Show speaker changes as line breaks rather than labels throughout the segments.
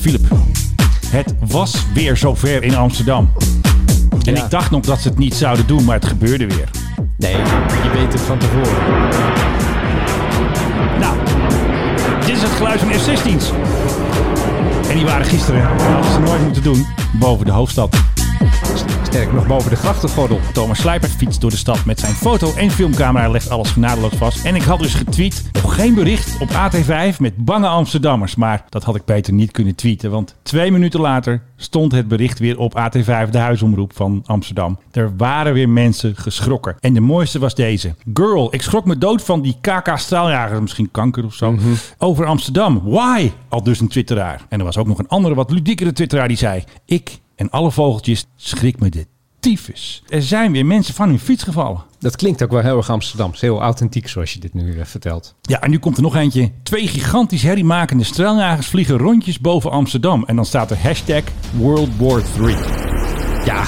Philip, het was weer zover in Amsterdam. En
Ja.
ik dacht nog dat ze het niet zouden doen, maar het gebeurde weer.
Nee, je weet het van tevoren.
Nou, dit is het geluid van F-16's. En die waren gisteren, dat hadden ze nooit moeten doen, boven de hoofdstad.
Sterk nog boven de grachtengordel.
Thomas Slijpert fietst door de stad met zijn foto- en filmcamera, legt alles genadeloos vast. En ik had dus getweet, nog geen bericht op AT5 met bange Amsterdammers. Maar dat had ik beter niet kunnen tweeten, want twee minuten later stond het bericht weer op AT5, de huisomroep van Amsterdam. Er waren weer mensen geschrokken. En de mooiste was deze. Girl, ik schrok me dood van die KK-straaljager, misschien kanker of zo, over Amsterdam. Why? Al dus een twitteraar. En er was ook nog een andere, wat ludiekere twitteraar die zei, ik en alle vogeltjes schrik me dit tyfus. Er zijn weer mensen van hun fiets gevallen.
Dat klinkt ook wel heel erg Amsterdams. Heel authentiek zoals je dit nu eh, vertelt.
Ja, en nu komt er nog eentje. Twee gigantisch herriemakende straaljagers vliegen rondjes boven Amsterdam. En dan staat er hashtag World War 3.
Ja,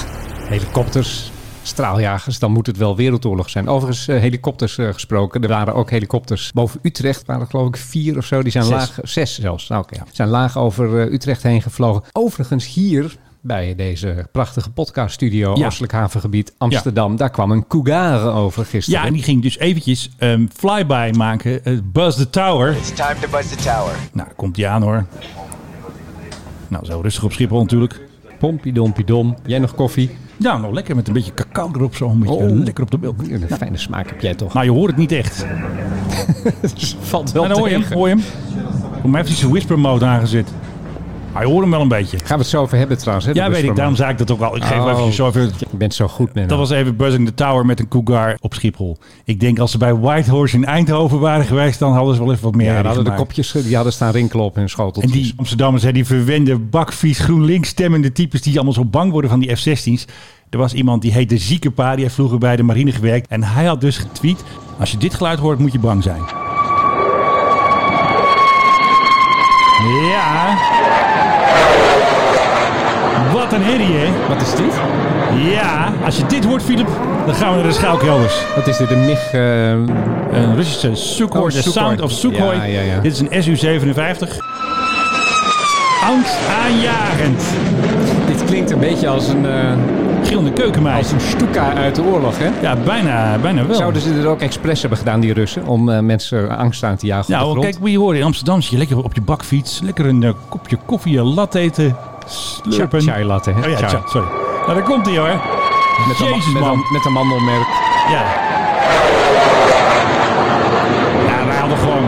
helikopters, straaljagers, dan moet het wel wereldoorlog zijn. Overigens, eh, helikopters eh, gesproken. Er waren ook helikopters boven Utrecht, waren er geloof ik vier of zo. Die zijn
Zes.
laag, zes zelfs. Nou, oké, ja. Zijn laag over eh, Utrecht heen gevlogen. Overigens hier bij deze prachtige podcaststudio,
Ja.
Oostelijk Havengebied, Amsterdam. Daar kwam een Cougar over gisteren.
Ja, en die ging dus eventjes ehm, flyby maken. eh, Buzz the Tower.
It's time to buzz the tower.
Nou, komt die aan hoor. Nou, zo rustig op Schiphol natuurlijk.
Pompidompidom. Jij nog koffie?
Nou, nog lekker met een beetje cacao erop zo. Een beetje eh,
Oh.
lekker op de melk.
Een fijne smaak heb jij toch?
Maar je hoort het niet echt. En
valt wel
dan hoor je hem,
tegen.
hoor je hem. Voor mij heeft hij zijn whisper mode aangezet. Hij hoort hem wel een beetje.
Gaan we het zo over hebben trouwens. Hè? de
Ja, weet ik.
Busverman.
Daarom zei ik dat ook al. Ik geef
Oh.
even zo even...
Je bent zo goed, man.
Dat was even Buzzing the Tower met een Cougar op Schiphol. Ik denk als ze bij Whitehorse in Eindhoven waren geweest, dan hadden ze wel even wat meer
Ja,
herrie
die hadden de
gemaakt.
kopjes, die hadden staan rinkelen op hun
En
schoteltjes.
die Amsterdammers, hè, die verwende, bakvies, GroenLinks stemmende types die allemaal zo bang worden van die F-16's. Er was iemand die heette Zieke Pa, die heeft vroeger bij de marine gewerkt. En hij had dus getweet, als je dit geluid hoort moet je bang zijn. Ja. Wat een herrie, hè?
Wat is dit?
Ja, als je dit hoort, Philip, dan gaan we naar de schuilkelders.
Wat is dit? Een MIG? eh,
Een Russische Sukhoi,
Oh,
de
Sukhoi.
Sound of Sukhoi.
Ja, ja, ja.
Dit is een SU-57. Angstaanjagend.
dit klinkt een beetje als een, eh
Gillende keukenmeis.
als een stuka uit de oorlog, hè?
Ja, bijna, bijna wel.
Zouden ze dit ook expres hebben gedaan, die Russen? Om eh, mensen angst aan te jagen op de
Nou,
grond?
kijk, we horen in Amsterdam zit je lekker op je bakfiets. Lekker een eh, kopje koffie, een latte eten. Slurpen.
Chai- chai latte, hè?
Oh ja,
Chai.
chai, sorry. Nou, daar komt hij hoor.
met een ma-
Jezus,
met
man.
Een, met een mandelmerk.
Ja. Ja, wij hadden gewoon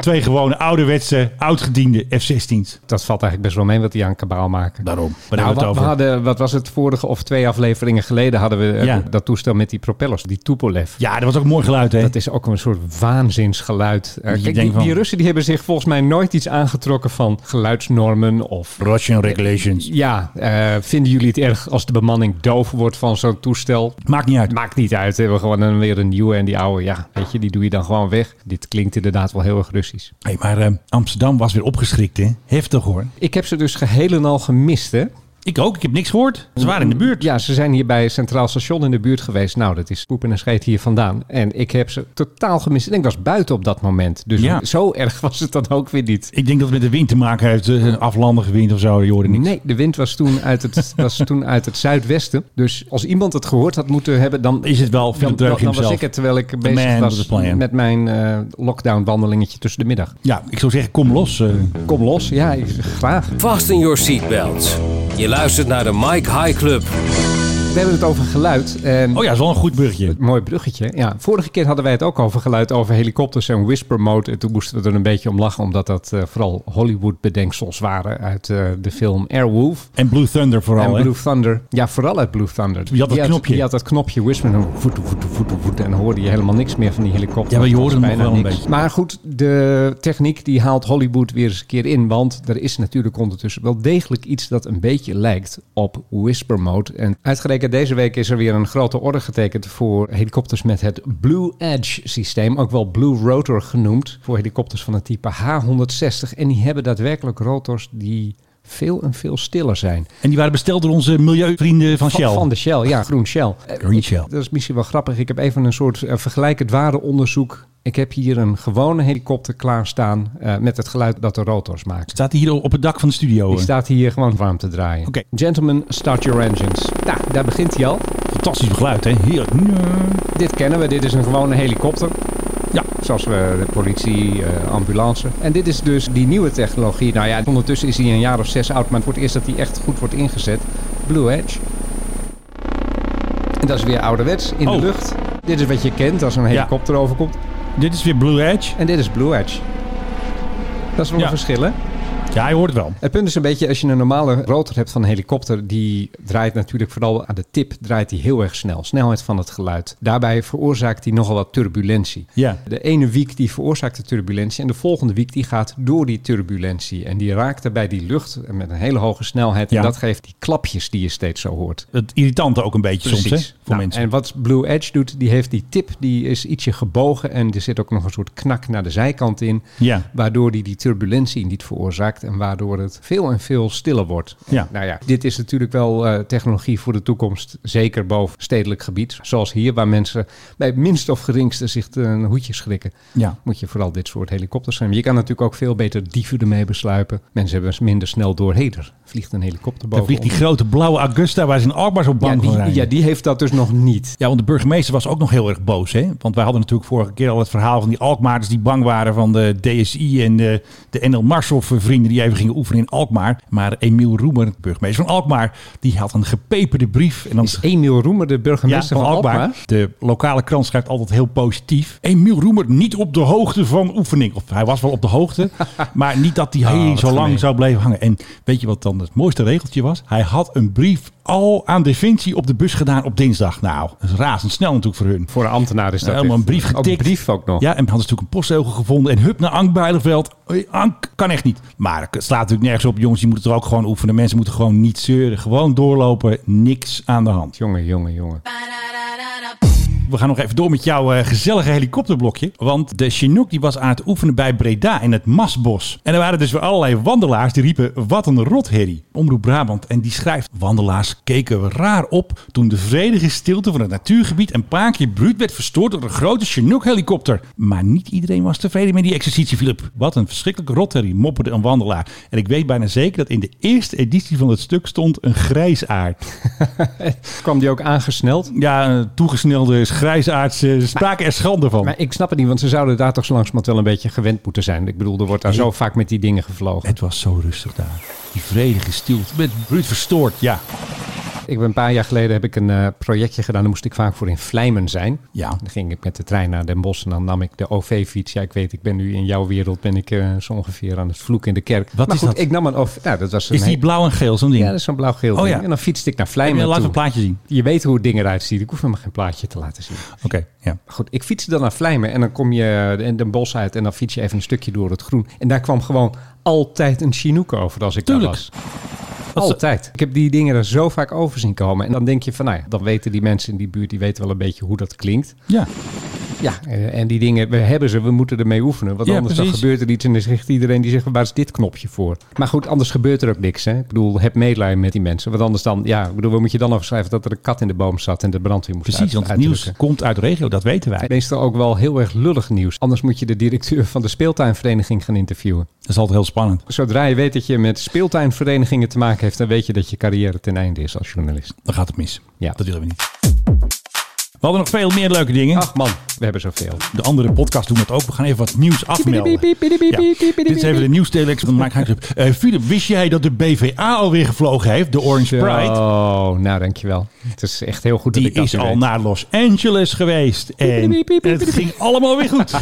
twee gewone ouderwetse, oudgediende F-16's.
Dat valt eigenlijk best wel mee wat die aan kabaal maken.
Daarom. Waar
Nou,
hebben we het
wat, we
over?
hadden, wat was het vorige of twee afleveringen geleden hadden we eh,
Ja.
dat toestel met die propellers, die Tupolev.
Ja, dat was ook een mooi geluid, hè?
Dat is ook een soort waanzinsgeluid. Eh,
Je
kijk, die,
denkt van-
die Russen die hebben zich volgens mij nooit iets aangetrokken van geluidsnormen of...
Russian regulations.
Ja, eh, vinden jullie het erg als de bemanning doof wordt van zo'n toestel?
Maakt niet uit.
Maakt niet uit, we hebben gewoon een, weer een nieuwe en die oude, ja, weet je, die doe je dan gewoon weg. Dit klinkt inderdaad wel heel erg Russisch.
Hey, maar eh, Amsterdam was weer opgeschrikt, hè? Heftig, hoor.
Ik heb ze dus geheel en al gemist, hè?
Ik ook. Ik heb niks gehoord. Ze waren in de buurt.
Ja, ze zijn hier bij Centraal Station in de buurt geweest. Nou, dat is poepen en scheet hier vandaan. En ik heb ze totaal gemist. En ik was buiten op dat moment. Dus
Ja.
zo erg was het dan ook weer niet.
Ik denk dat het met de wind te maken heeft. eh, Een aflandige wind of zo. Je hoorde niks.
Nee, de wind was toen, uit het, was toen uit het zuidwesten. Dus als iemand het gehoord had moeten hebben, dan,
Is het wel
dan,
Philip
dan,
Dreug
dan was
himself?
ik het terwijl ik
man
bezig
with
was
the plan.
met mijn eh lockdown wandelingetje tussen de middag.
Ja, ik zou zeggen, kom los. eh.
Kom los, ja, ik, graag.
Vast in your seatbelt. Je luistert naar de Mike High Club.
We hebben het over geluid. En
Oh ja, dat is wel een goed bruggetje.
Mooi bruggetje. Ja, vorige keer hadden wij het ook over geluid over helikopters en whisper mode. En toen moesten we er een beetje om lachen, omdat dat eh, vooral Hollywood-bedenksels waren uit eh, de film Airwolf.
En Blue Thunder
En
vooral, hè?
Blue Thunder. Ja, vooral uit Blue Thunder.
Die had dat knopje.
Die had dat knopje whisper. En dan voet, voet, voet, voet. En dan hoorde je helemaal niks meer van die helikopter.
Ja, maar je hoorde
Dat was
hem nog
bijna
wel een beetje.
niks. Maar goed, de techniek die haalt Hollywood weer eens een keer in. Want er is natuurlijk ondertussen wel degelijk iets dat een beetje lijkt op whisper mode. En uitgerekend deze week is er weer een grote order getekend voor helikopters met het Blue Edge systeem. Ook wel Blue Rotor genoemd. Voor helikopters van het type H160. En die hebben daadwerkelijk rotors die veel en veel stiller zijn.
En die waren besteld door onze milieuvrienden van Shell.
Van de Shell, ja, groen Shell.
Green Shell.
eh, Dat is misschien wel grappig. Ik heb even een soort eh, vergelijkend waardeonderzoek Ik heb hier een gewone helikopter klaarstaan eh met het geluid dat de rotors maken.
Staat hij hier op het dak van de studio?
Die staat hier gewoon warm te draaien.
Oké.
Gentlemen, start your engines. Nou, daar begint hij al.
Fantastisch geluid, hè? Heerlijk.
Dit kennen we, dit is een gewone helikopter.
Ja.
Zoals we de politie, eh, ambulance. En dit is dus die nieuwe technologie. Nou ja, ondertussen is hij een jaar of zes oud, maar het wordt eerst dat hij echt goed wordt ingezet. Blue Edge. En dat is weer ouderwets, in
Oh.
de lucht. Dit is wat je kent als een helikopter overkomt.
Dit is weer Blue Edge.
En dit is Blue Edge. Dat is wel
Ja.
een verschil, hè?
Ja, je hoort het wel.
Het punt is een beetje, als je een normale rotor hebt van een helikopter, die draait natuurlijk vooral aan de tip, draait die heel erg snel. Snelheid van het geluid. Daarbij veroorzaakt die nogal wat turbulentie.
Ja.
De ene wiek die veroorzaakt de turbulentie en de volgende wiek die gaat door die turbulentie. En die raakt daarbij die lucht met een hele hoge snelheid.
Ja.
En dat geeft die klapjes die je steeds zo hoort.
Het irritante ook een beetje soms, hè? Voor
Nou,
mensen.
En wat Blue Edge doet, die heeft die tip, die is ietsje gebogen en er zit ook nog een soort knak naar de zijkant in.
Ja.
Waardoor die die turbulentie niet veroorzaakt en waardoor het veel en veel stiller wordt.
Ja.
Nou ja, dit is natuurlijk wel eh, technologie voor de toekomst, zeker boven stedelijk gebied. Zoals hier, waar mensen bij het minst of geringste zich een hoedje schrikken.
Ja.
Moet je vooral dit soort helikopters hebben. Je kan natuurlijk ook veel beter dieven ermee besluipen. Mensen hebben minder snel door. Hé, er vliegt een helikopter
Dan
boven.
vliegt die grote blauwe Augusta waar zijn Alkmaar zo bang
ja,
van
die,
zijn.
ja, die heeft dat dus nog niet.
Ja, want de burgemeester was ook nog heel erg boos. Hè? Want wij hadden natuurlijk vorige keer al het verhaal van die Alkmaarders die bang waren van de DSI en de, de NL Marshoff vrienden die even gingen oefenen in Alkmaar. Maar Emiel Roemer, de burgemeester van Alkmaar, die had een gepeperde brief. En dan
Is Emiel Roemer de burgemeester van Alkmaar?
De lokale krant schrijft altijd heel positief. Emiel Roemer niet op de hoogte van oefening. Of hij was wel op de hoogte, maar niet dat hij heel
Ah, wat
zo lang
gemeen.
zou blijven hangen. En weet je wat dan het mooiste regeltje was? Hij had een brief al aan Defensie op de bus gedaan op dinsdag. Nou, dat is razendsnel natuurlijk voor hun.
Voor een ambtenaar is dat
Helemaal
echt-
een brief
Ook
getikt.
brief ook nog.
Ja, en hadden ze natuurlijk een postzegel gevonden. En hup naar Ank Bijleveld. Hoi, Ank, kan echt niet. Maar het slaat natuurlijk nergens op. Jongens, je moet het er ook gewoon oefenen. Mensen moeten gewoon niet zeuren. Gewoon doorlopen. Niks aan de hand.
Jongen, jongen, jongen.
We gaan nog even door met jouw eh, gezellige helikopterblokje. Want de Chinook die was aan het oefenen bij Breda in het Masbos. En er waren dus weer allerlei wandelaars die riepen... Wat een rotherrie. Omroep Brabant. En die schrijft... Wandelaars keken raar op toen de vredige stilte van het natuurgebied... een paar keer bruut werd verstoord door een grote Chinook-helikopter. Maar niet iedereen was tevreden met die exercitie, Philip. Wat een verschrikkelijke rotherrie, mopperde een wandelaar. En ik weet bijna zeker dat in de eerste editie van het stuk stond een grijsaard.
Kwam die ook aangesneld?
Ja, een toegesnelde is grijsaards. eh, Ze spraken er schande van.
Maar ik snap het niet, want ze zouden daar toch zo langzamerhand wel een beetje gewend moeten zijn. Ik bedoel, er wordt daar zo vaak met die dingen gevlogen.
Het was zo rustig daar. Die vredige stilte. Met bruut verstoord, ja.
Ik ben een paar jaar geleden heb ik een eh, projectje gedaan. Daar moest ik vaak voor in Vlijmen zijn.
Ja.
Dan ging ik met de trein naar Den Bosch en dan nam ik de OV-fiets. Ja, ik weet, ik ben nu in jouw wereld, ben ik eh, zo ongeveer aan het vloek in de kerk.
Wat
maar
is
goed,
dat?
ik nam een OV... Nou, dat was een
Is die
heel-
blauw en geel, zo'n ding?
Ja, dat is zo'n blauw-geel
Oh,
ding.
ja.
En dan fietste ik naar
Heb je-
Vlijmen
Laat
toe.
een plaatje zien.
Je weet hoe het ding eruit ziet. Ik hoef hem geen plaatje te laten zien.
Oké, ja.
Goed, ik fietste dan naar Vlijmen en dan kom je eh, Den Bosch uit en dan fiets je even een stukje door het groen. En daar kwam gewoon altijd een Chinook over als ik
Tuurlijk.
daar was. Altijd. Ik heb die dingen er zo vaak over zien komen. En dan denk je van, nou ja, dan weten die mensen in die buurt, die weten wel een beetje hoe dat klinkt.
Ja,
Ja, eh, en die dingen, we hebben ze, we moeten ermee oefenen. Want
Ja,
anders dan
precies.
gebeurt er iets en dan zegt iedereen, die zegt, waar is dit knopje voor? Maar goed, anders gebeurt er ook niks. Hè? Ik bedoel, heb medelijden met die mensen. Want anders dan, ja, ik bedoel, wat moet je dan afschrijven dat er een kat in de boom zat en de brandweer moest
precies.
uit-
Want het
uitrukken?
nieuws komt uit de regio, dat weten wij.
Meestal ook wel heel erg lullig nieuws. Anders moet je de directeur van de speeltuinvereniging gaan interviewen.
Dat is altijd heel spannend.
Zodra je weet dat je met speeltuinverenigingen te maken heeft, dan weet je dat je carrière ten einde is als journalist.
Dan gaat het mis.
Ja.
Dat willen we niet. We hadden nog veel meer leuke dingen.
Ach man, we hebben zoveel.
De andere podcast doen het ook. We gaan even wat nieuws afmelden. Ja. Dit is even de nieuwstelex van Mike Huijtrup. Eh Philip, wist jij dat de BVA alweer gevlogen heeft? De Orange Pride?
Oh, nou dankjewel. Het is echt heel goed
Die
dat ik dat
is
nu
al
weet.
naar Los Angeles geweest. En
piep, piep, piep,
het ging allemaal weer goed.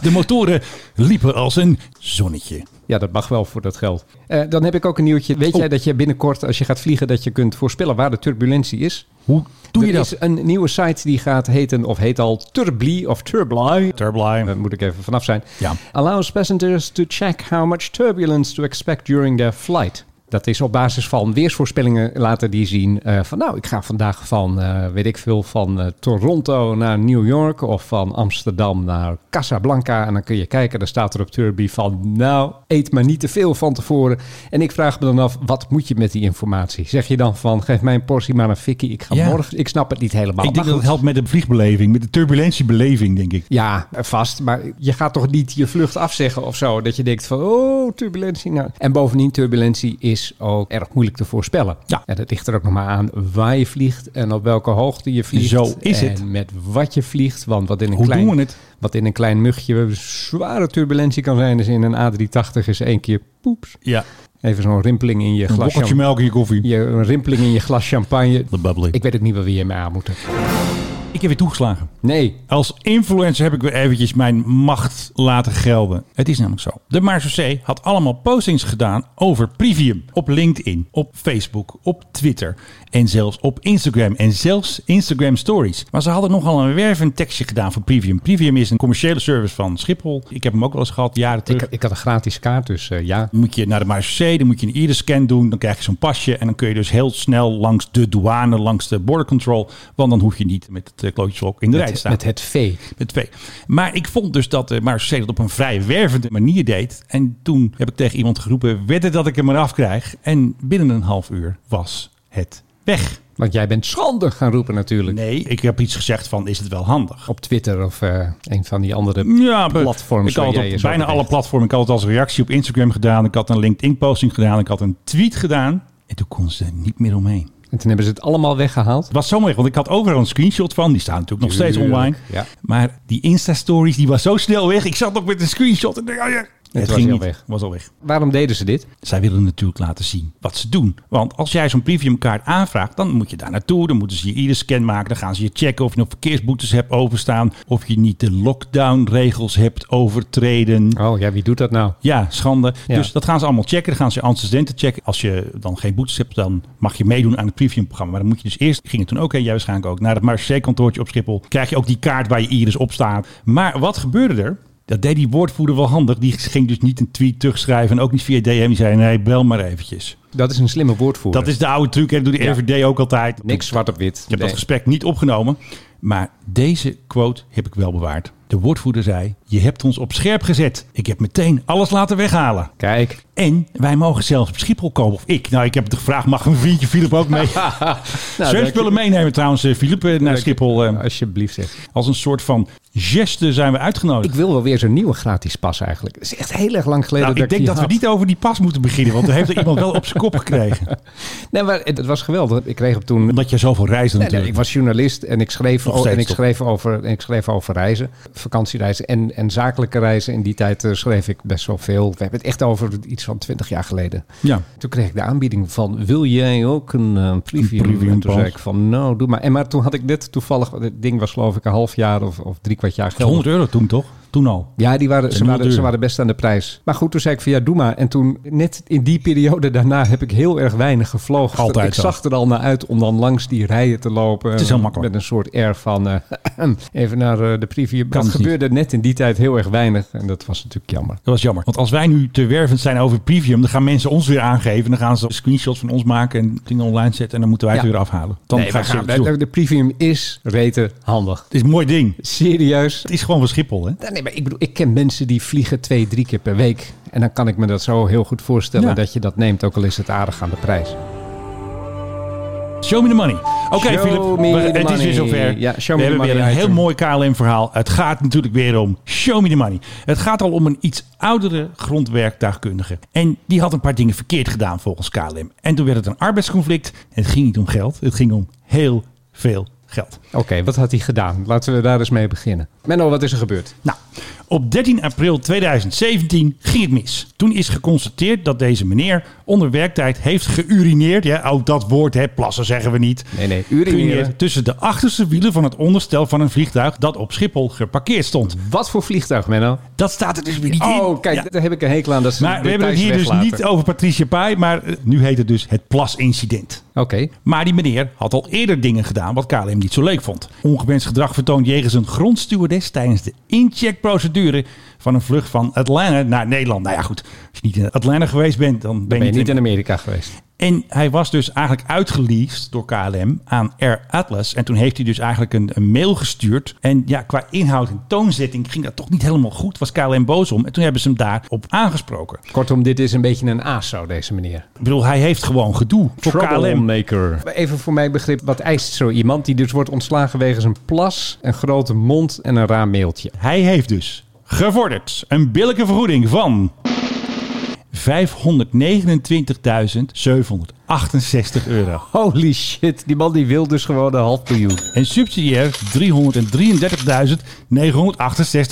De motoren liepen als een zonnetje.
Ja, dat mag wel voor dat geld. Eh, dan heb ik ook een nieuwtje. Weet
Oh.
jij dat je binnenkort, als je gaat vliegen, dat je kunt voorspellen waar de turbulentie is?
Hoe doe
er
je dat?
is een nieuwe site die gaat heten, of heet al Turbly of Turbly.
Turbline.
Daar moet ik even vanaf zijn.
Ja.
Allows passengers to check how much turbulence to expect during their flight. Dat is op basis van weersvoorspellingen laten die zien. eh, van nou, ik ga vandaag van, eh, weet ik veel, van eh, Toronto naar New York of van Amsterdam naar Casablanca. En dan kun je kijken, dan staat er op Turby van nou, eet maar niet te veel van tevoren. En ik vraag me dan af, wat moet je met die informatie? Zeg je dan van, geef mij een portie maar een fikkie, ik ga
Ja.
morgen. Ik snap het niet helemaal.
ik
maar
denk dat het
goed.
helpt met de vliegbeleving, met de turbulentiebeleving, denk ik.
Ja, vast. Maar je gaat toch niet je vlucht afzeggen of zo? Dat je denkt van, oh, turbulentie. Nou. En bovendien, turbulentie is ook erg moeilijk te voorspellen.
Ja.
En dat ligt er ook nog maar aan waar je vliegt en op welke hoogte je vliegt.
Zo is
en
het.
met wat je vliegt. Want wat in een,
Hoe
klein,
doen we het?
wat in een klein mugje zware turbulentie kan zijn, is in een A380 is één keer poeps.
Ja,
Even zo'n rimpeling in je
een
glas
bokkeltje
champagne.
melk in je koffie.
Je, een rimpeling in je glas champagne.
De bubbly. Ik,
Ik weet ook niet waar we je mee aan moeten.
heb weer toegeslagen.
Nee,
Als influencer heb ik weer eventjes mijn macht laten gelden. Het is namelijk zo. De Marseillais had allemaal postings gedaan over Privium. Op LinkedIn, op Facebook, op Twitter en zelfs op Instagram. En zelfs Instagram Stories. Maar ze hadden nogal een wervend tekstje gedaan voor Privium. Privium is een commerciële service van Schiphol. Ik heb hem ook wel eens gehad, jaren terug.
ik, ik had een gratis kaart, dus eh, ja.
Dan moet je naar de Marseille, dan moet je een iris-scan doen. Dan krijg je zo'n pasje en dan kun je dus heel snel langs de douane, langs de border control. Want dan hoef je niet met het eh, klootjesvolk in de rij te
Met,
staan.
met het V.
Met twee. Maar ik vond dus dat eh, Marseille dat op een vrij wervende manier deed. En toen heb ik tegen iemand geroepen, wedden dat ik hem eraf krijg. En binnen een half uur was het weg.
Want jij bent schande gaan roepen natuurlijk.
Nee, ik heb iets gezegd van, is het wel handig?
Op Twitter of eh, een van die andere.
Ja, eh,
platforms
Ik had
waar
het
jij je
op
zo
bijna
beweegt.
alle platformen. Ik had het als reactie op Instagram gedaan. Ik had een LinkedIn-posting gedaan. Ik had een tweet gedaan. En toen kon ze er niet meer omheen.
En toen hebben ze het allemaal weggehaald.
Het was zo mooi, want ik had overal een screenshot van. Die staan natuurlijk nog steeds
Tuurlijk,
online.
ja.
Maar die Insta-stories, die was zo snel weg. Ik zat nog met een screenshot. En, dacht, ah, ja, het
was
ging
heel
niet.
weg.
was al weg.
Waarom deden ze dit?
Zij willen natuurlijk laten zien wat ze doen. Want als jij zo'n premiumkaart aanvraagt, dan moet je daar naartoe. Dan moeten ze je ieder scan maken. Dan gaan ze je checken of je nog verkeersboetes hebt overstaan. Of je niet de lockdownregels hebt overtreden.
Oh ja, wie doet dat nou?
Ja, schande.
Ja.
Dus dat gaan ze allemaal checken. Dan gaan ze je antecedenten checken. Als je dan geen boetes hebt, dan mag je meedoen aan het previewprogramma. Maar dan moet je dus eerst, ging het toen ook, en jij waarschijnlijk ook, naar het Marseille-kantoortje op Schiphol. Krijg je ook die kaart waar je iris op staat. Maar wat gebeurde er? Dat deed die woordvoerder wel handig. Die ging dus niet een tweet terugschrijven en ook niet via DM. Die zei, nee, bel maar eventjes.
Dat is een slimme woordvoerder.
Dat is de oude truc. Hè? Dat doet de
Ja.
RVD ook altijd.
Niks zwart op wit.
Ik heb
Nee.
dat gesprek niet opgenomen. Maar deze quote heb ik wel bewaard. De woordvoerder zei, je hebt ons op scherp gezet. Ik heb meteen alles laten weghalen.
Kijk,
En wij mogen zelfs op Schiphol komen. Of ik. Nou, ik heb het gevraagd. Mag mijn vriendje Filip ook mee?
Nou,
Zijn
dank
spullen meenemen trouwens, eh, Filip, eh, naar
Dank je.
Schiphol. eh,
alsjeblieft zeg.
Als een soort van geste zijn we
Ik
uitgenodigd.
wil wel weer zo'n nieuwe gratis pas eigenlijk. Het is echt heel erg lang geleden
Nou, ik
dat ik
denk
die
dat we
had.
niet over die pas moeten beginnen. Want er heeft er iemand wel op zijn kop gekregen.
Nee, maar het, het was geweldig. Ik kreeg hem toen
Omdat je zoveel reisde
Nee, nee,
natuurlijk.
eh, ik was journalist en ik schreef,
Nog
o- en
steeds
ik
toch?
schreef, over, en ik schreef over reizen, vakantiereizen en, en zakelijke reizen. In die tijd eh, schreef ik best wel veel. We hebben het echt over iets van twintig jaar geleden.
Ja.
Toen kreeg ik de aanbieding van, wil jij ook een eh, preview?
Een preview
en toen
pas.
zei ik van, nou, doe maar. En maar toen had ik net toevallig, het ding was geloof ik een half jaar of, of drie kwart jaar geleden.
100 euro toen toch? Toen al.
Ja, die waren, ze,
heel
waren,
duur.
ze waren best aan de prijs. Maar goed, toen zei ik van ja, doe maar. En toen, net in die periode daarna, heb ik heel erg weinig gevlogen.
Altijd
Ik
zo.
zag er al naar uit om dan langs die rijen te lopen.
Het is heel makkelijk.
Met een soort air van eh, even naar eh, de preview.
Kan
dat
het niet.
gebeurde net in die tijd heel erg weinig. En dat was natuurlijk jammer.
Dat was jammer. Want als wij nu te wervend zijn over Premium, dan gaan mensen ons weer aangeven. Dan gaan ze screenshots van ons maken en dingen online zetten. En dan moeten wij het
Ja.
weer afhalen. Dan
Nee,
gaat
we
ze
gaan-
het doen.
de, de preview is rete handig.
Het is een mooi ding.
Serieus.
Het is gewoon van Schiphol, hè?
Nee, maar ik bedoel, ik ken mensen die vliegen twee, drie keer per week. En dan kan ik me dat zo heel goed voorstellen
Ja.
dat je dat neemt, ook al is het aardig aan de prijs.
Show me the money. Oké,
Show
Philip,
me
we-
the
het is
money.
weer zover.
Ja, show
we
me the
hebben
money
weer een
item.
heel mooi KLM-verhaal. Het gaat natuurlijk weer om Show me the money. Het gaat al om een iets oudere grondwerktuigkundige. En die had een paar dingen verkeerd gedaan volgens KLM. En toen werd het een arbeidsconflict. En het ging niet om geld. Het ging om heel veel geld.
Oké, wat had hij gedaan? Laten we daar eens mee beginnen. Menno, wat is er gebeurd?
Nou, op 13 april 2017 ging het mis. Toen is geconstateerd dat deze meneer onder werktijd heeft geurineerd. Ja, ook dat woord, hè, plassen zeggen we niet.
Nee, nee, urineren.
Geurineerd tussen de achterste wielen van het onderstel van een vliegtuig dat op Schiphol geparkeerd stond.
Wat voor vliegtuig, Menno?
Dat staat er dus weer niet in.
Oh, kijk,
Ja.
daar heb ik een hekel aan. Dat ze
Maar we hebben het
details
hier dus
weglaten.
niet over Patricia Pai, maar eh, nu heet het dus het plasincident.
Oké.
Maar die meneer had al eerder dingen gedaan wat KLM niet zo leuk vond. Ongewenst gedrag vertoond jegens een grondstewardess tijdens de incheckprocedure van een vlucht van Atlanta naar Nederland. Nou ja, goed. Als je niet in Atlanta geweest bent, dan ben je,
Ben je
niet
niet in Amerika geweest?
En hij was dus eigenlijk uitgeleased door KLM aan Air Atlas. En toen heeft hij dus eigenlijk een, een mail gestuurd. En ja, qua inhoud en toonzetting ging dat toch niet helemaal goed. Was KLM boos om. En toen hebben ze hem daarop aangesproken.
Kortom, dit is een beetje een ASO, deze meneer.
Ik bedoel, hij heeft gewoon gedoe voor KLM.
Troublemaker. Even voor mijn begrip, wat eist zo iemand die dus wordt ontslagen wegens een plas, een grote mond en een raar mailtje?
Hij heeft dus gevorderd een billijke vergoeding van 529.768 euro.
Holy shit, die man die wil dus gewoon een half miljoen.
En subsidiair 333.968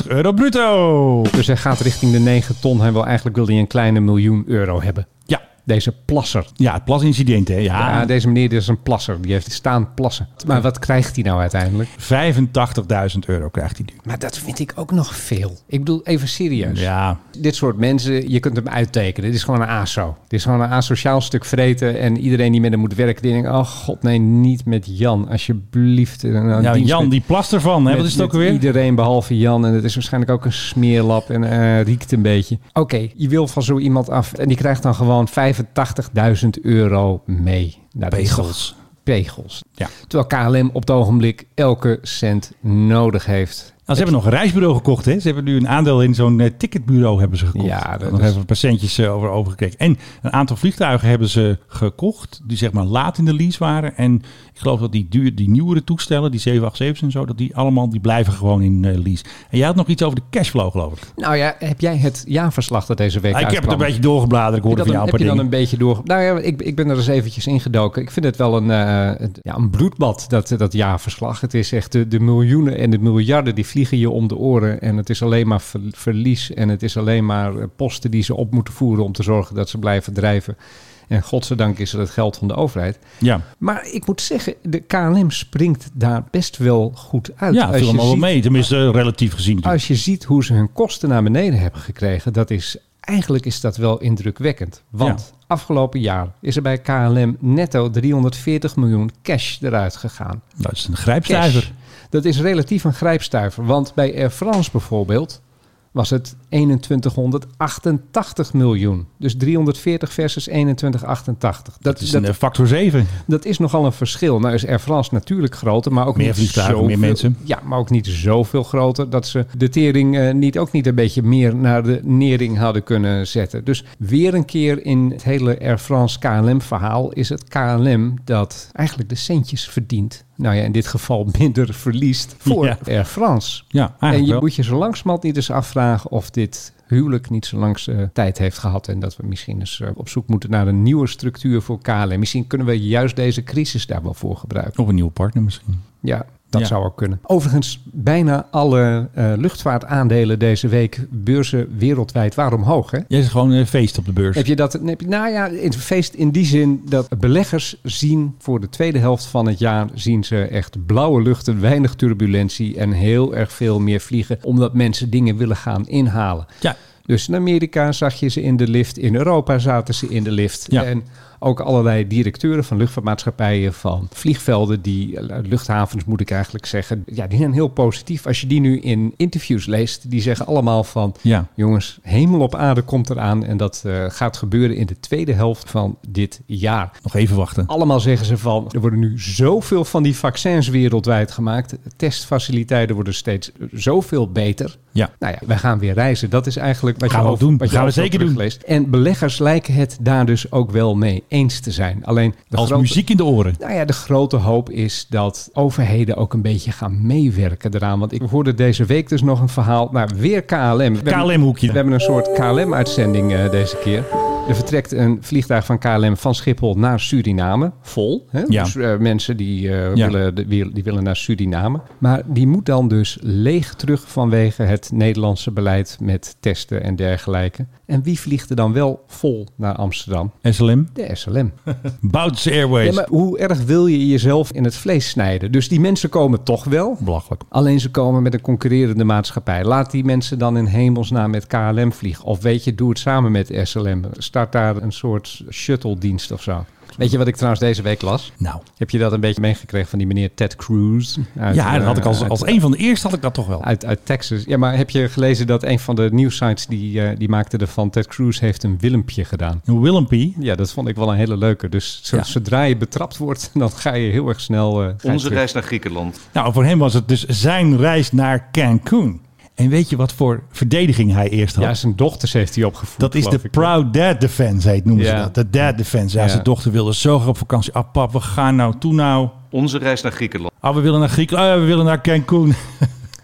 euro bruto.
Dus hij gaat richting de 9 ton. Hij wil eigenlijk wil hij een kleine miljoen euro hebben.
Ja,
Deze plasser.
ja het plasincident hè. Ja,
Ja, deze meneer die is een plasser. Die heeft staan plassen. Maar wat krijgt hij nou uiteindelijk?
85.000 euro krijgt hij nu.
Maar dat vind ik ook nog veel. Ik bedoel, even serieus.
Ja,
Dit soort mensen, je kunt hem uittekenen. Dit is gewoon een ASO. Dit is gewoon een asociaal stuk vreten. En iedereen die met hem moet werken, die denkt... Oh god, nee, niet met Jan, alsjeblieft. En dan
ja
dienst
Jan
met-
die plast ervan hè. Wat
met-
is het ook
met
alweer?
Iedereen behalve Jan. En het is waarschijnlijk ook een smeerlap en eh, riekt een beetje. Oké, je wil van zo iemand af. En die krijgt dan gewoon 85.000 euro mee. Nou, dat is toch-
Pegels.
Pegels.
Ja.
Terwijl KLM op het ogenblik elke cent nodig heeft.
Nou, ze hebben nog een reisbureau gekocht. Hè? Ze hebben nu een aandeel in zo'n eh, ticketbureau hebben ze gekocht.
Ja, dat
Daar
is-
hebben we een paar centjes eh, over overgekeken. En een aantal vliegtuigen hebben ze gekocht. Die zeg maar laat in de lease waren. En ik geloof dat die, duur, die nieuwere toestellen, die 787's en zo, dat die allemaal die blijven gewoon in eh, lease. En jij had nog iets over de cashflow geloof ik. Ah,
Nou ja, heb jij het jaarverslag dat deze week
ik heb het
uitkwam?
een beetje doorgebladerd. Ik
Heb
hoorde
je
van
dat
jou
een,
een
heb
paar
je dan
dingen.
een beetje door... Nou ja, ik, ik ben er eens eventjes ingedoken. Ik vind het wel een, eh, het- ja, een bloedbad, dat, dat jaarverslag. Het is echt de, de miljoenen en de miljarden die vliegen je om de oren. En het is alleen maar ver- verlies. En het is alleen maar eh, posten die ze op moeten voeren om te zorgen dat ze blijven drijven. En godzijdank is het het geld van de overheid.
Ja,
Maar ik moet zeggen, de KLM springt daar best wel goed uit.
ja
Als
viel
je
allemaal wel
ziet-
mee. Tenminste, eh, relatief gezien. natuurlijk.
als je ziet hoe ze hun kosten naar beneden hebben gekregen, dat is eigenlijk is dat wel indrukwekkend. Want afgelopen jaar is er bij KLM netto 340 miljoen cash eruit gegaan.
Nou, Dat is een
Cash.
grijpstuiver.
Dat is relatief een grijpstuiver, want bij Air France bijvoorbeeld was het 2188 miljoen. Dus 340 versus 2188. Dat,
Het is
dat,
een eh, factor 7.
dat is nogal een verschil. Nou is Air France natuurlijk groter, maar ook
Meer
niet
vliegtuigen,
zoveel-
meer mensen.
Ja, maar ook niet zoveel groter dat ze de tering eh, niet ook niet een beetje meer naar de nering hadden kunnen zetten. Dus weer een keer in het hele Air France KLM verhaal is het KLM dat eigenlijk de centjes verdient. Nou ja, in dit geval minder verliest voor
Ja.
Air France.
Ja, eigenlijk
en je
wel.
moet je zo langzamerhand niet eens afvragen of dit huwelijk niet zo langs eh, tijd heeft gehad. En dat we misschien eens eh, op zoek moeten naar een nieuwe structuur voor KLM. Misschien kunnen we juist deze crisis daar wel voor gebruiken.
Of een nieuwe partner misschien.
Ja, dat
Ja.
zou ook kunnen. Overigens, bijna alle eh, luchtvaartaandelen deze week, beurzen wereldwijd, waren omhoog. Hè?
Jij is gewoon een feest op de beurs.
Heb je dat? Heb je, nou ja, het feest in die zin dat beleggers zien voor de tweede helft van het jaar zien ze echt blauwe luchten, weinig turbulentie en heel erg veel meer vliegen, omdat mensen dingen willen gaan inhalen.
Ja,
Dus in Amerika zag je ze in de lift, in Europa zaten ze in de lift.
Ja.
En ook allerlei directeuren van luchtvaartmaatschappijen, van vliegvelden, die eh, luchthavens moet ik eigenlijk zeggen. Ja, die zijn heel positief. Als je die nu in interviews leest, die zeggen allemaal van...
ja.
Jongens, hemel op aarde komt eraan en dat eh, gaat gebeuren in de tweede helft van dit jaar.
Nog even wachten.
Allemaal zeggen ze van, er worden nu zoveel van die vaccins wereldwijd gemaakt. Testfaciliteiten worden steeds eh, zoveel beter.
Ja.
Nou ja, wij gaan weer reizen. Dat is eigenlijk wat
Gaan
je
we
ook-
doen.
Wat je
Gaan we
ook
zeker doen.
terugleest. En beleggers lijken het daar dus ook wel mee eens te zijn. Alleen de
Als
grote,
muziek in de oren.
Nou ja, de grote hoop is dat overheden ook een beetje gaan meewerken eraan. Want ik hoorde deze week dus nog een verhaal. Nou, weer KLM. We hebben- we
KLM-hoekje.
hebben een soort KLM-uitzending eh, deze keer. Er vertrekt een vliegtuig van KLM van Schiphol naar Suriname. Vol. Hè?
Ja.
Dus eh, mensen die, eh,
Ja.
willen, de- wil- die willen naar Suriname. Maar die moet dan dus leeg terug vanwege het Nederlandse beleid met testen en dergelijke. En wie vliegt er dan wel vol naar Amsterdam?
SLM.
De SLM.
Bouts
Ja,
Airways.
maar hoe erg wil je jezelf in het vlees snijden? Dus die mensen komen toch wel.
Belachelijk.
Alleen ze komen met een concurrerende maatschappij. Laat die mensen dan in hemelsnaam met KLM vliegen. Of weet je, doe het samen met SLM. Start daar een soort shuttle-dienst of zo. Weet je wat ik trouwens deze week las?
Nou,
Heb je dat een beetje meegekregen van die meneer Ted Cruz? Uit,
ja, dat had ik als,
eh,
als een van de eerste had ik dat toch wel.
Uit, uit Texas. Ja, maar heb je gelezen dat een van de nieuwsites die, eh, die maakte ervan... Ted Cruz heeft een Willempje gedaan.
Een Willempie.
Ja, dat vond ik wel een hele leuke. Dus zo-
Ja.
zodra je betrapt wordt, dan ga je heel erg snel... eh, ga je
Onze
terug.
reis naar Griekenland.
Nou, voor hem was het dus zijn reis naar Cancun. En weet je wat voor verdediging hij eerst had?
Ja, zijn dochters heeft hij opgevoed.
Dat is
geloof
de
ik, hè?
Proud Dad Defense, heet noemen ze
Ja.
dat. De Dad Defense. Ja,
Ja.
zijn dochter wilde zo graag op vakantie. Ah, pap, we gaan nou. Toe nou.
Onze reis naar Griekenland.
Ah, we willen naar Griekenland. Ah, we willen naar Cancun.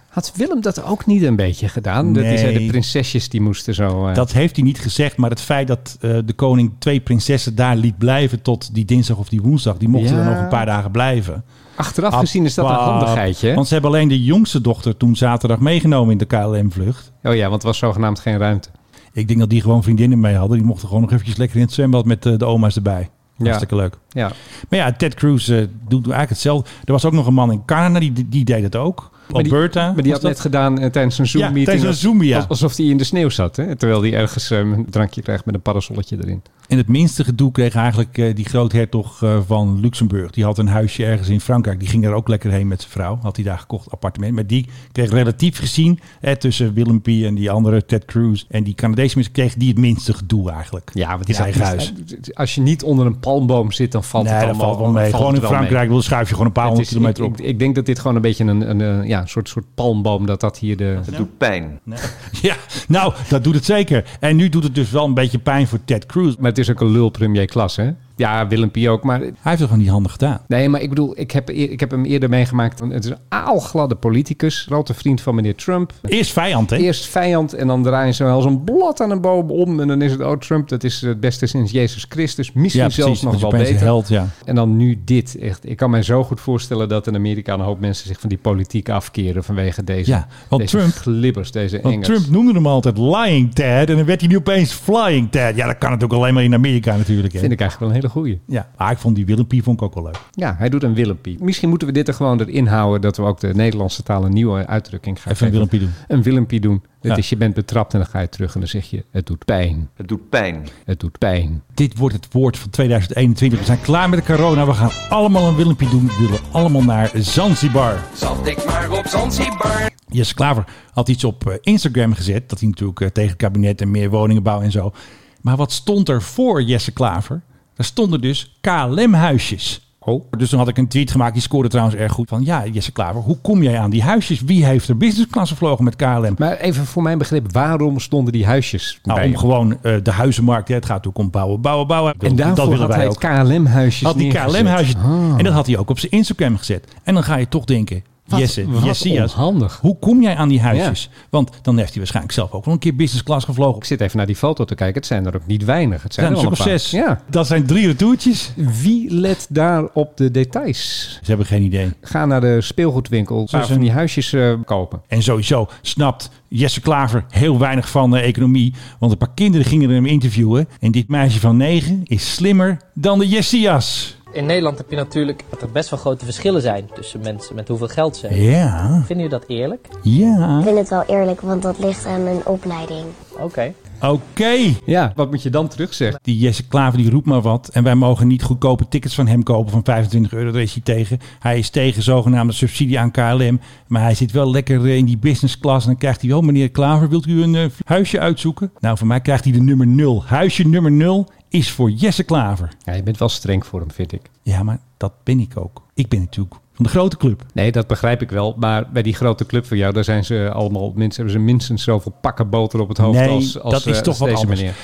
Had Willem dat ook niet een beetje gedaan? Dat
Nee.
die zei, de prinsesjes die moesten zo... eh,
Dat heeft hij niet gezegd. Maar het feit dat eh, de koning twee prinsessen daar liet blijven tot die dinsdag of die woensdag. Die mochten
Ja.
er nog een paar dagen blijven.
Achteraf gezien is dat een
Appa.
handigheidje. hè?
Want ze hebben alleen de jongste dochter toen zaterdag meegenomen in de KLM-vlucht.
Oh ja, want er was zogenaamd geen ruimte.
Ik denk dat die gewoon vriendinnen mee hadden. Die mochten gewoon nog eventjes lekker in het zwembad met eh, de oma's erbij.
Ja.
Hartstikke leuk.
Ja,
Maar ja, Ted Cruz eh, doet eigenlijk hetzelfde. Er was ook nog een man in Canada, die, die deed het ook.
die-
Alberta.
maar die
was
had
dat?
net gedaan eh, tijdens een
Ja,
Zoom-meeting.
tijdens een
als-
Zoom, ja.
als- Alsof hij in de sneeuw zat, hè? terwijl hij ergens eh, een drankje krijgt met een parasolletje erin.
En het minste gedoe kreeg eigenlijk eh, die groothertog eh, van Luxemburg. Die had een huisje ergens in Frankrijk. Die ging er ook lekker heen met zijn vrouw. Had hij daar gekocht, appartement. Maar die kreeg relatief gezien, eh, tussen Willempie en die andere Ted Cruz. En die Canadese mensen kreeg die het minste gedoe eigenlijk. in zijn eigen huis.
Als je niet onder een palmboom zit, dan valt het
nee, dat
allemaal
valt wel mee.
valt
Gewoon in
het wel mee.
Frankrijk wil schuif je gewoon een paar
Het
honderd
is-
kilometer
ik,
op.
ik- ik denk dat dit gewoon een beetje een, een, eh, ja, een soort, soort palmboom, dat dat hier de...
Het doet pijn.
Ja, nou, dat doet het zeker. En nu doet het dus wel een beetje pijn voor Ted Cruz.
Maar het is ook een lul premier klas, hè? Ja, Willem Pie ook, maar
Hij heeft het gewoon niet handig gedaan.
Nee, maar ik bedoel, ik heb, eer- ik heb hem eerder meegemaakt. Het is een aalgladde politicus, grote vriend van meneer Trump.
Eerst vijand, hè?
Eerst vijand en dan draai je zo als een blad aan een boom om. En dan is het, oh Trump, dat is het beste sinds Jezus Christus. Misschien zelfs nog
want je
wel
bent een
beter.
held, ja.
En dan nu dit. Echt, ik kan mij zo goed voorstellen dat in Amerika een hoop mensen zich van die politiek afkeren vanwege deze,
Ja, want
deze
Trump-
glibbers, deze
Want
engels.
Trump noemde hem altijd Lying Ted en dan werd hij nu opeens Flying Ted. Ja, dat kan natuurlijk alleen maar in Amerika natuurlijk. Hè?
Vind ik eigenlijk wel een hele goeie.
Ja, maar ik vond die Willempie vond ik ook wel leuk.
Ja, hij doet een Willempie. Misschien moeten we dit er gewoon erin houden dat we ook de Nederlandse taal een nieuwe uitdrukking gaan
Even een
geven.
Willempie doen.
een willempie doen. Dat
Ja.
is, je bent betrapt en dan ga je terug en dan zeg je, het doet pijn,
Het doet pijn.
het doet pijn.
Dit wordt het woord van 2021. We zijn klaar met de corona. We gaan allemaal een Willempie doen. We willen allemaal naar Zanzibar.
Zat ik maar op Zanzibar.
Jesse Klaver had iets op eh, Instagram gezet. Dat hij natuurlijk eh, tegen het kabinet en meer woningenbouw en zo. Maar wat stond er voor Jesse Klaver? Daar stonden dus KLM-huisjes.
Oh.
Dus toen had ik een tweet gemaakt, die scoorde trouwens erg goed. Van ja, Jesse Klaver, hoe kom jij aan die huisjes? Wie heeft er business class gevlogen met KLM?
Maar even voor mijn begrip, waarom stonden die huisjes
Nou,
bij
om
hem?
gewoon eh, de huizenmarkt, hè, het gaat natuurlijk om bouwen, bouwen, bouwen.
En daarvoor had hij het KLM-huisjes
Had die
neergezet.
KLM-huisjes.
Ah.
En dat had hij ook op zijn Instagram gezet. En dan ga je toch denken,
Wat-
Jesse,
wat
Jessias,
onhandig.
hoe kom jij aan die huisjes? Want dan heeft hij waarschijnlijk zelf ook wel een keer business class gevlogen.
Ik zit even naar die foto te kijken, het zijn er ook niet weinig. Het zijn,
zijn er
er
zo'n
wel een paar.
zes.
Ja.
Dat zijn drie retourtjes.
Wie let daar op de details?
Ze hebben geen idee.
Ga naar de speelgoedwinkel, een paar
Zo'n-
van die huisjes eh, kopen.
En sowieso snapt Jesse Klaver heel weinig van de economie. Want een paar kinderen gingen hem interviewen. En dit meisje van negen is slimmer dan de Jessias.
In Nederland heb je natuurlijk dat er best wel grote verschillen zijn tussen mensen met hoeveel geld ze hebben.
Ja,
Vinden jullie dat eerlijk?
ja.
Ik vind het wel eerlijk, want dat ligt aan mijn opleiding.
Oké.
Oké.
Ja, wat moet je dan terugzeggen?
Die Jesse Klaver die roept maar wat. En wij mogen niet goedkope tickets van hem kopen van 25 euro. Daar is hij tegen. Hij is tegen zogenaamde subsidie aan KLM. Maar hij zit wel lekker eh, in die business class. En dan krijgt hij wel, meneer Klaver, wilt u een eh, huisje uitzoeken? Nou, voor mij krijgt hij de nummer 0. Huisje nummer 0 is voor Jesse Klaver.
Ja, je bent wel streng voor hem, vind ik.
Ja, maar dat ben ik ook. Ik ben natuurlijk van de grote club.
Nee, dat begrijp ik wel. Maar bij die grote club van jou, daar zijn ze allemaal mensen, hebben ze minstens zoveel pakken boter op het hoofd
Nee,
als, als,
dat is
eh,
toch
als
wat
deze
anders.
meneer.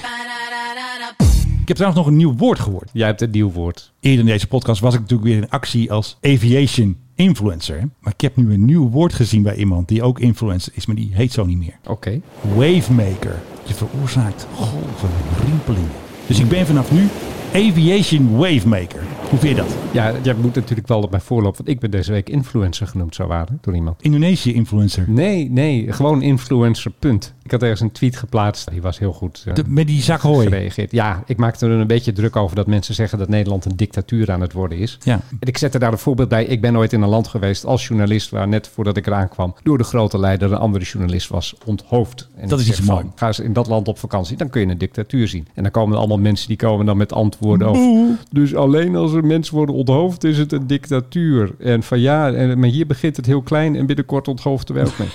Ik heb trouwens nog een nieuw woord gehoord.
Jij hebt het nieuw woord.
Eerder in deze podcast was ik natuurlijk weer in actie als aviation influencer. Maar ik heb nu een nieuw woord gezien bij iemand die ook influencer is, maar die heet zo niet meer.
Oké.
Wavemaker. Je veroorzaakt golven, rimpelingen. Dus ik ben vanaf nu aviation wavemaker. Hoe vind je dat?
Ja, jij moet natuurlijk wel op mijn voorloop. Want ik ben deze week influencer genoemd, zou waren, door iemand.
Indonesië influencer.
Nee, nee, gewoon influencer, punt. Ik had ergens een tweet geplaatst. Die was heel goed eh,
De- met die zak hooi.
gereageerd. Ja, ik maakte er een beetje druk over dat mensen zeggen dat Nederland een dictatuur aan het worden is.
Ja.
En ik zette daar een voorbeeld bij. Ik ben nooit in een land geweest als journalist waar net voordat ik eraan kwam door de grote leider een andere journalist was onthoofd. En
Dat
ik
is
zeg
iets
van,
mooi.
Ga eens in dat land op vakantie, dan kun je een dictatuur zien. En dan komen er allemaal mensen die komen dan met antwoorden over. Dus alleen als er mensen worden onthoofd is het een dictatuur. En van ja, en, maar hier begint het heel klein en binnenkort onthoofd er wel ook mee.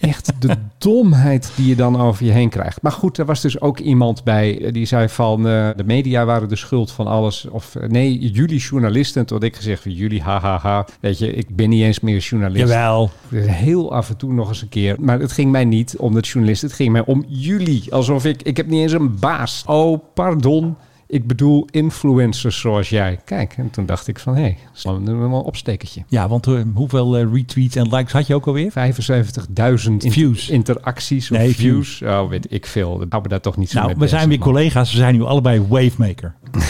Echt de domheid die je dan over je heen krijgt. Maar goed, er was dus ook iemand bij eh, die zei van eh, de media waren de schuld van alles. Of eh, nee, jullie journalisten. Toen had ik gezegd van jullie, hahaha. Ha, ha. Weet je, ik ben niet eens meer journalist.
Jawel.
Dus Heel af en toe nog eens een keer. Maar het ging mij niet om dat journalist. Het ging mij om jullie. Alsof ik... Ik heb niet eens een baas. Oh, pardon. Ik bedoel influencers zoals jij. Kijk, en toen dacht ik van... Hé, hey, slaan we er wel een opstekertje.
Ja, want eh, hoeveel eh, retweets en likes had je ook alweer?
75.000 in-
Views.
interacties of
Nee,
views. Oh, weet ik veel. Hou me daar toch niet zo
Nou,
mee
we zijn weer
bezig, man.
collega's. We zijn nu allebei Wavemaker.
Oké.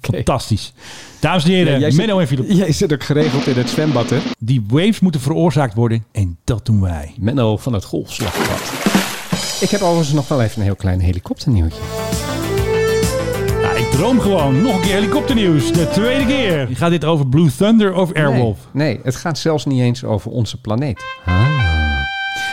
Fantastisch. Dames en
Ja,
heren,
jij,
eh, Menno en Philip.
zit, jij zit ook geregeld in het zwembad, hè?
Die waves moeten veroorzaakt worden. En dat doen wij.
Menno van het golfslagpad. Ik heb overigens nog wel even een heel klein helikopternieuwtje.
Ja, Nou, ik droom gewoon. Nog een keer helikopternieuws. De tweede keer. Gaat dit over Blue Thunder of Airwolf?
Nee, nee, het gaat zelfs niet eens over onze planeet.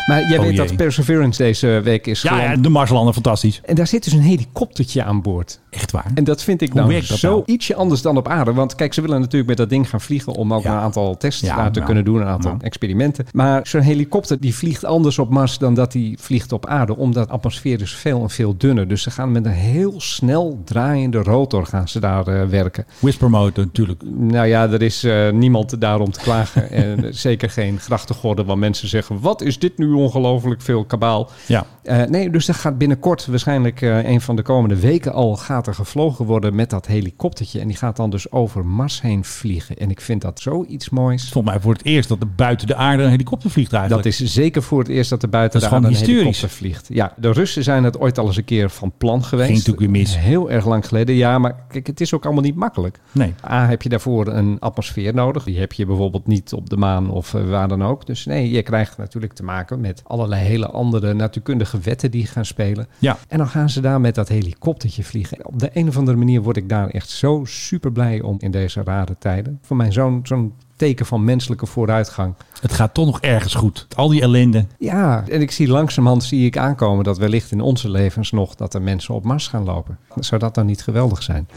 Maar jij
Ah. Oh
weet
jee.
dat Perseverance deze week is
Ja,
geland.
ja, de Marslander, fantastisch.
En daar zit dus een helikoptertje aan boord.
Echt waar.
En dat vind ik
Hoe
nou
werkt dat
zo
nou?
ietsje anders dan op aarde. Want kijk, ze willen natuurlijk met dat ding gaan vliegen... om ook
Ja.
een aantal tests
Ja, nou,
daar te
ja.
kunnen doen, een aantal
Ja.
experimenten. Maar zo'n helikopter die vliegt anders op Mars dan dat die vliegt op aarde... omdat de atmosfeer is veel en veel dunner. Dus ze gaan met een heel snel draaiende rotor gaan ze daar eh, werken.
Whisper mode natuurlijk.
Nou ja, er is eh, niemand daarom te klagen. en zeker geen grachtengorden waar mensen zeggen... wat is dit nu ongelooflijk veel kabaal.
Ja.
Eh, nee, dus er gaat binnenkort waarschijnlijk eh, een van de komende weken al... gaat er gevlogen worden met dat helikoptertje. En die gaat dan dus over Mars heen vliegen. En ik vind dat zoiets moois.
Volgens mij voor het eerst dat er buiten de aarde een helikopter vliegt eigenlijk.
Dat is zeker voor het eerst dat er buiten
Dat
de
is
aarde een
gewoon hysterisch.
helikopter vliegt. Ja, de Russen zijn het ooit al eens een keer van plan geweest.
Ging natuurlijk weer mis.
Heel erg lang geleden. Ja, maar kijk, het is ook allemaal niet makkelijk.
Nee.
A, heb je daarvoor een atmosfeer nodig. Die heb je bijvoorbeeld niet op de maan of eh, waar dan ook. Dus nee, je krijgt natuurlijk te maken met allerlei hele andere natuurkundige wetten die gaan spelen.
Ja.
En dan gaan ze daar met dat helikoptertje vliegen. Op de een of andere manier word ik daar echt zo super blij om in deze rare tijden. Voor mij zo'n zo'n teken van menselijke vooruitgang.
Het gaat toch nog ergens goed. Al die ellende.
Ja, en ik zie langzamerhand zie ik aankomen dat wellicht in onze levens nog dat er mensen op Mars gaan lopen. Zou dat dan niet geweldig zijn?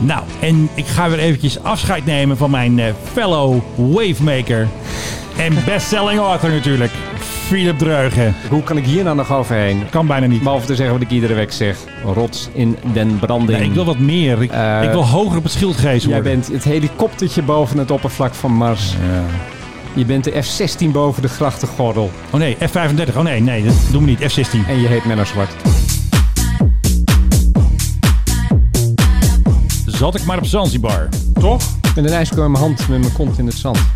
Nou, en ik ga weer eventjes afscheid nemen van mijn eh, fellow wavemaker. En bestselling author natuurlijk. Philip Dreugen.
Hoe kan ik hier nou nog overheen?
Kan bijna niet.
Behalve te zeggen wat ik iedere week zeg. Rots in den branding.
Nee, ik wil wat meer. Ik,
Eh,
ik wil hoger op het schild gehezen
Jij
worden.
bent het helikoptertje boven het oppervlak van Mars. Je bent de F-16 boven de grachtengordel.
Oh nee, F35. Oh nee, nee, dat doen we niet. F16.
En je heet Menno Zwart.
Zat ik maar op Zanzibar. Toch?
Met een ijskoor in mijn hand met mijn kont in het zand.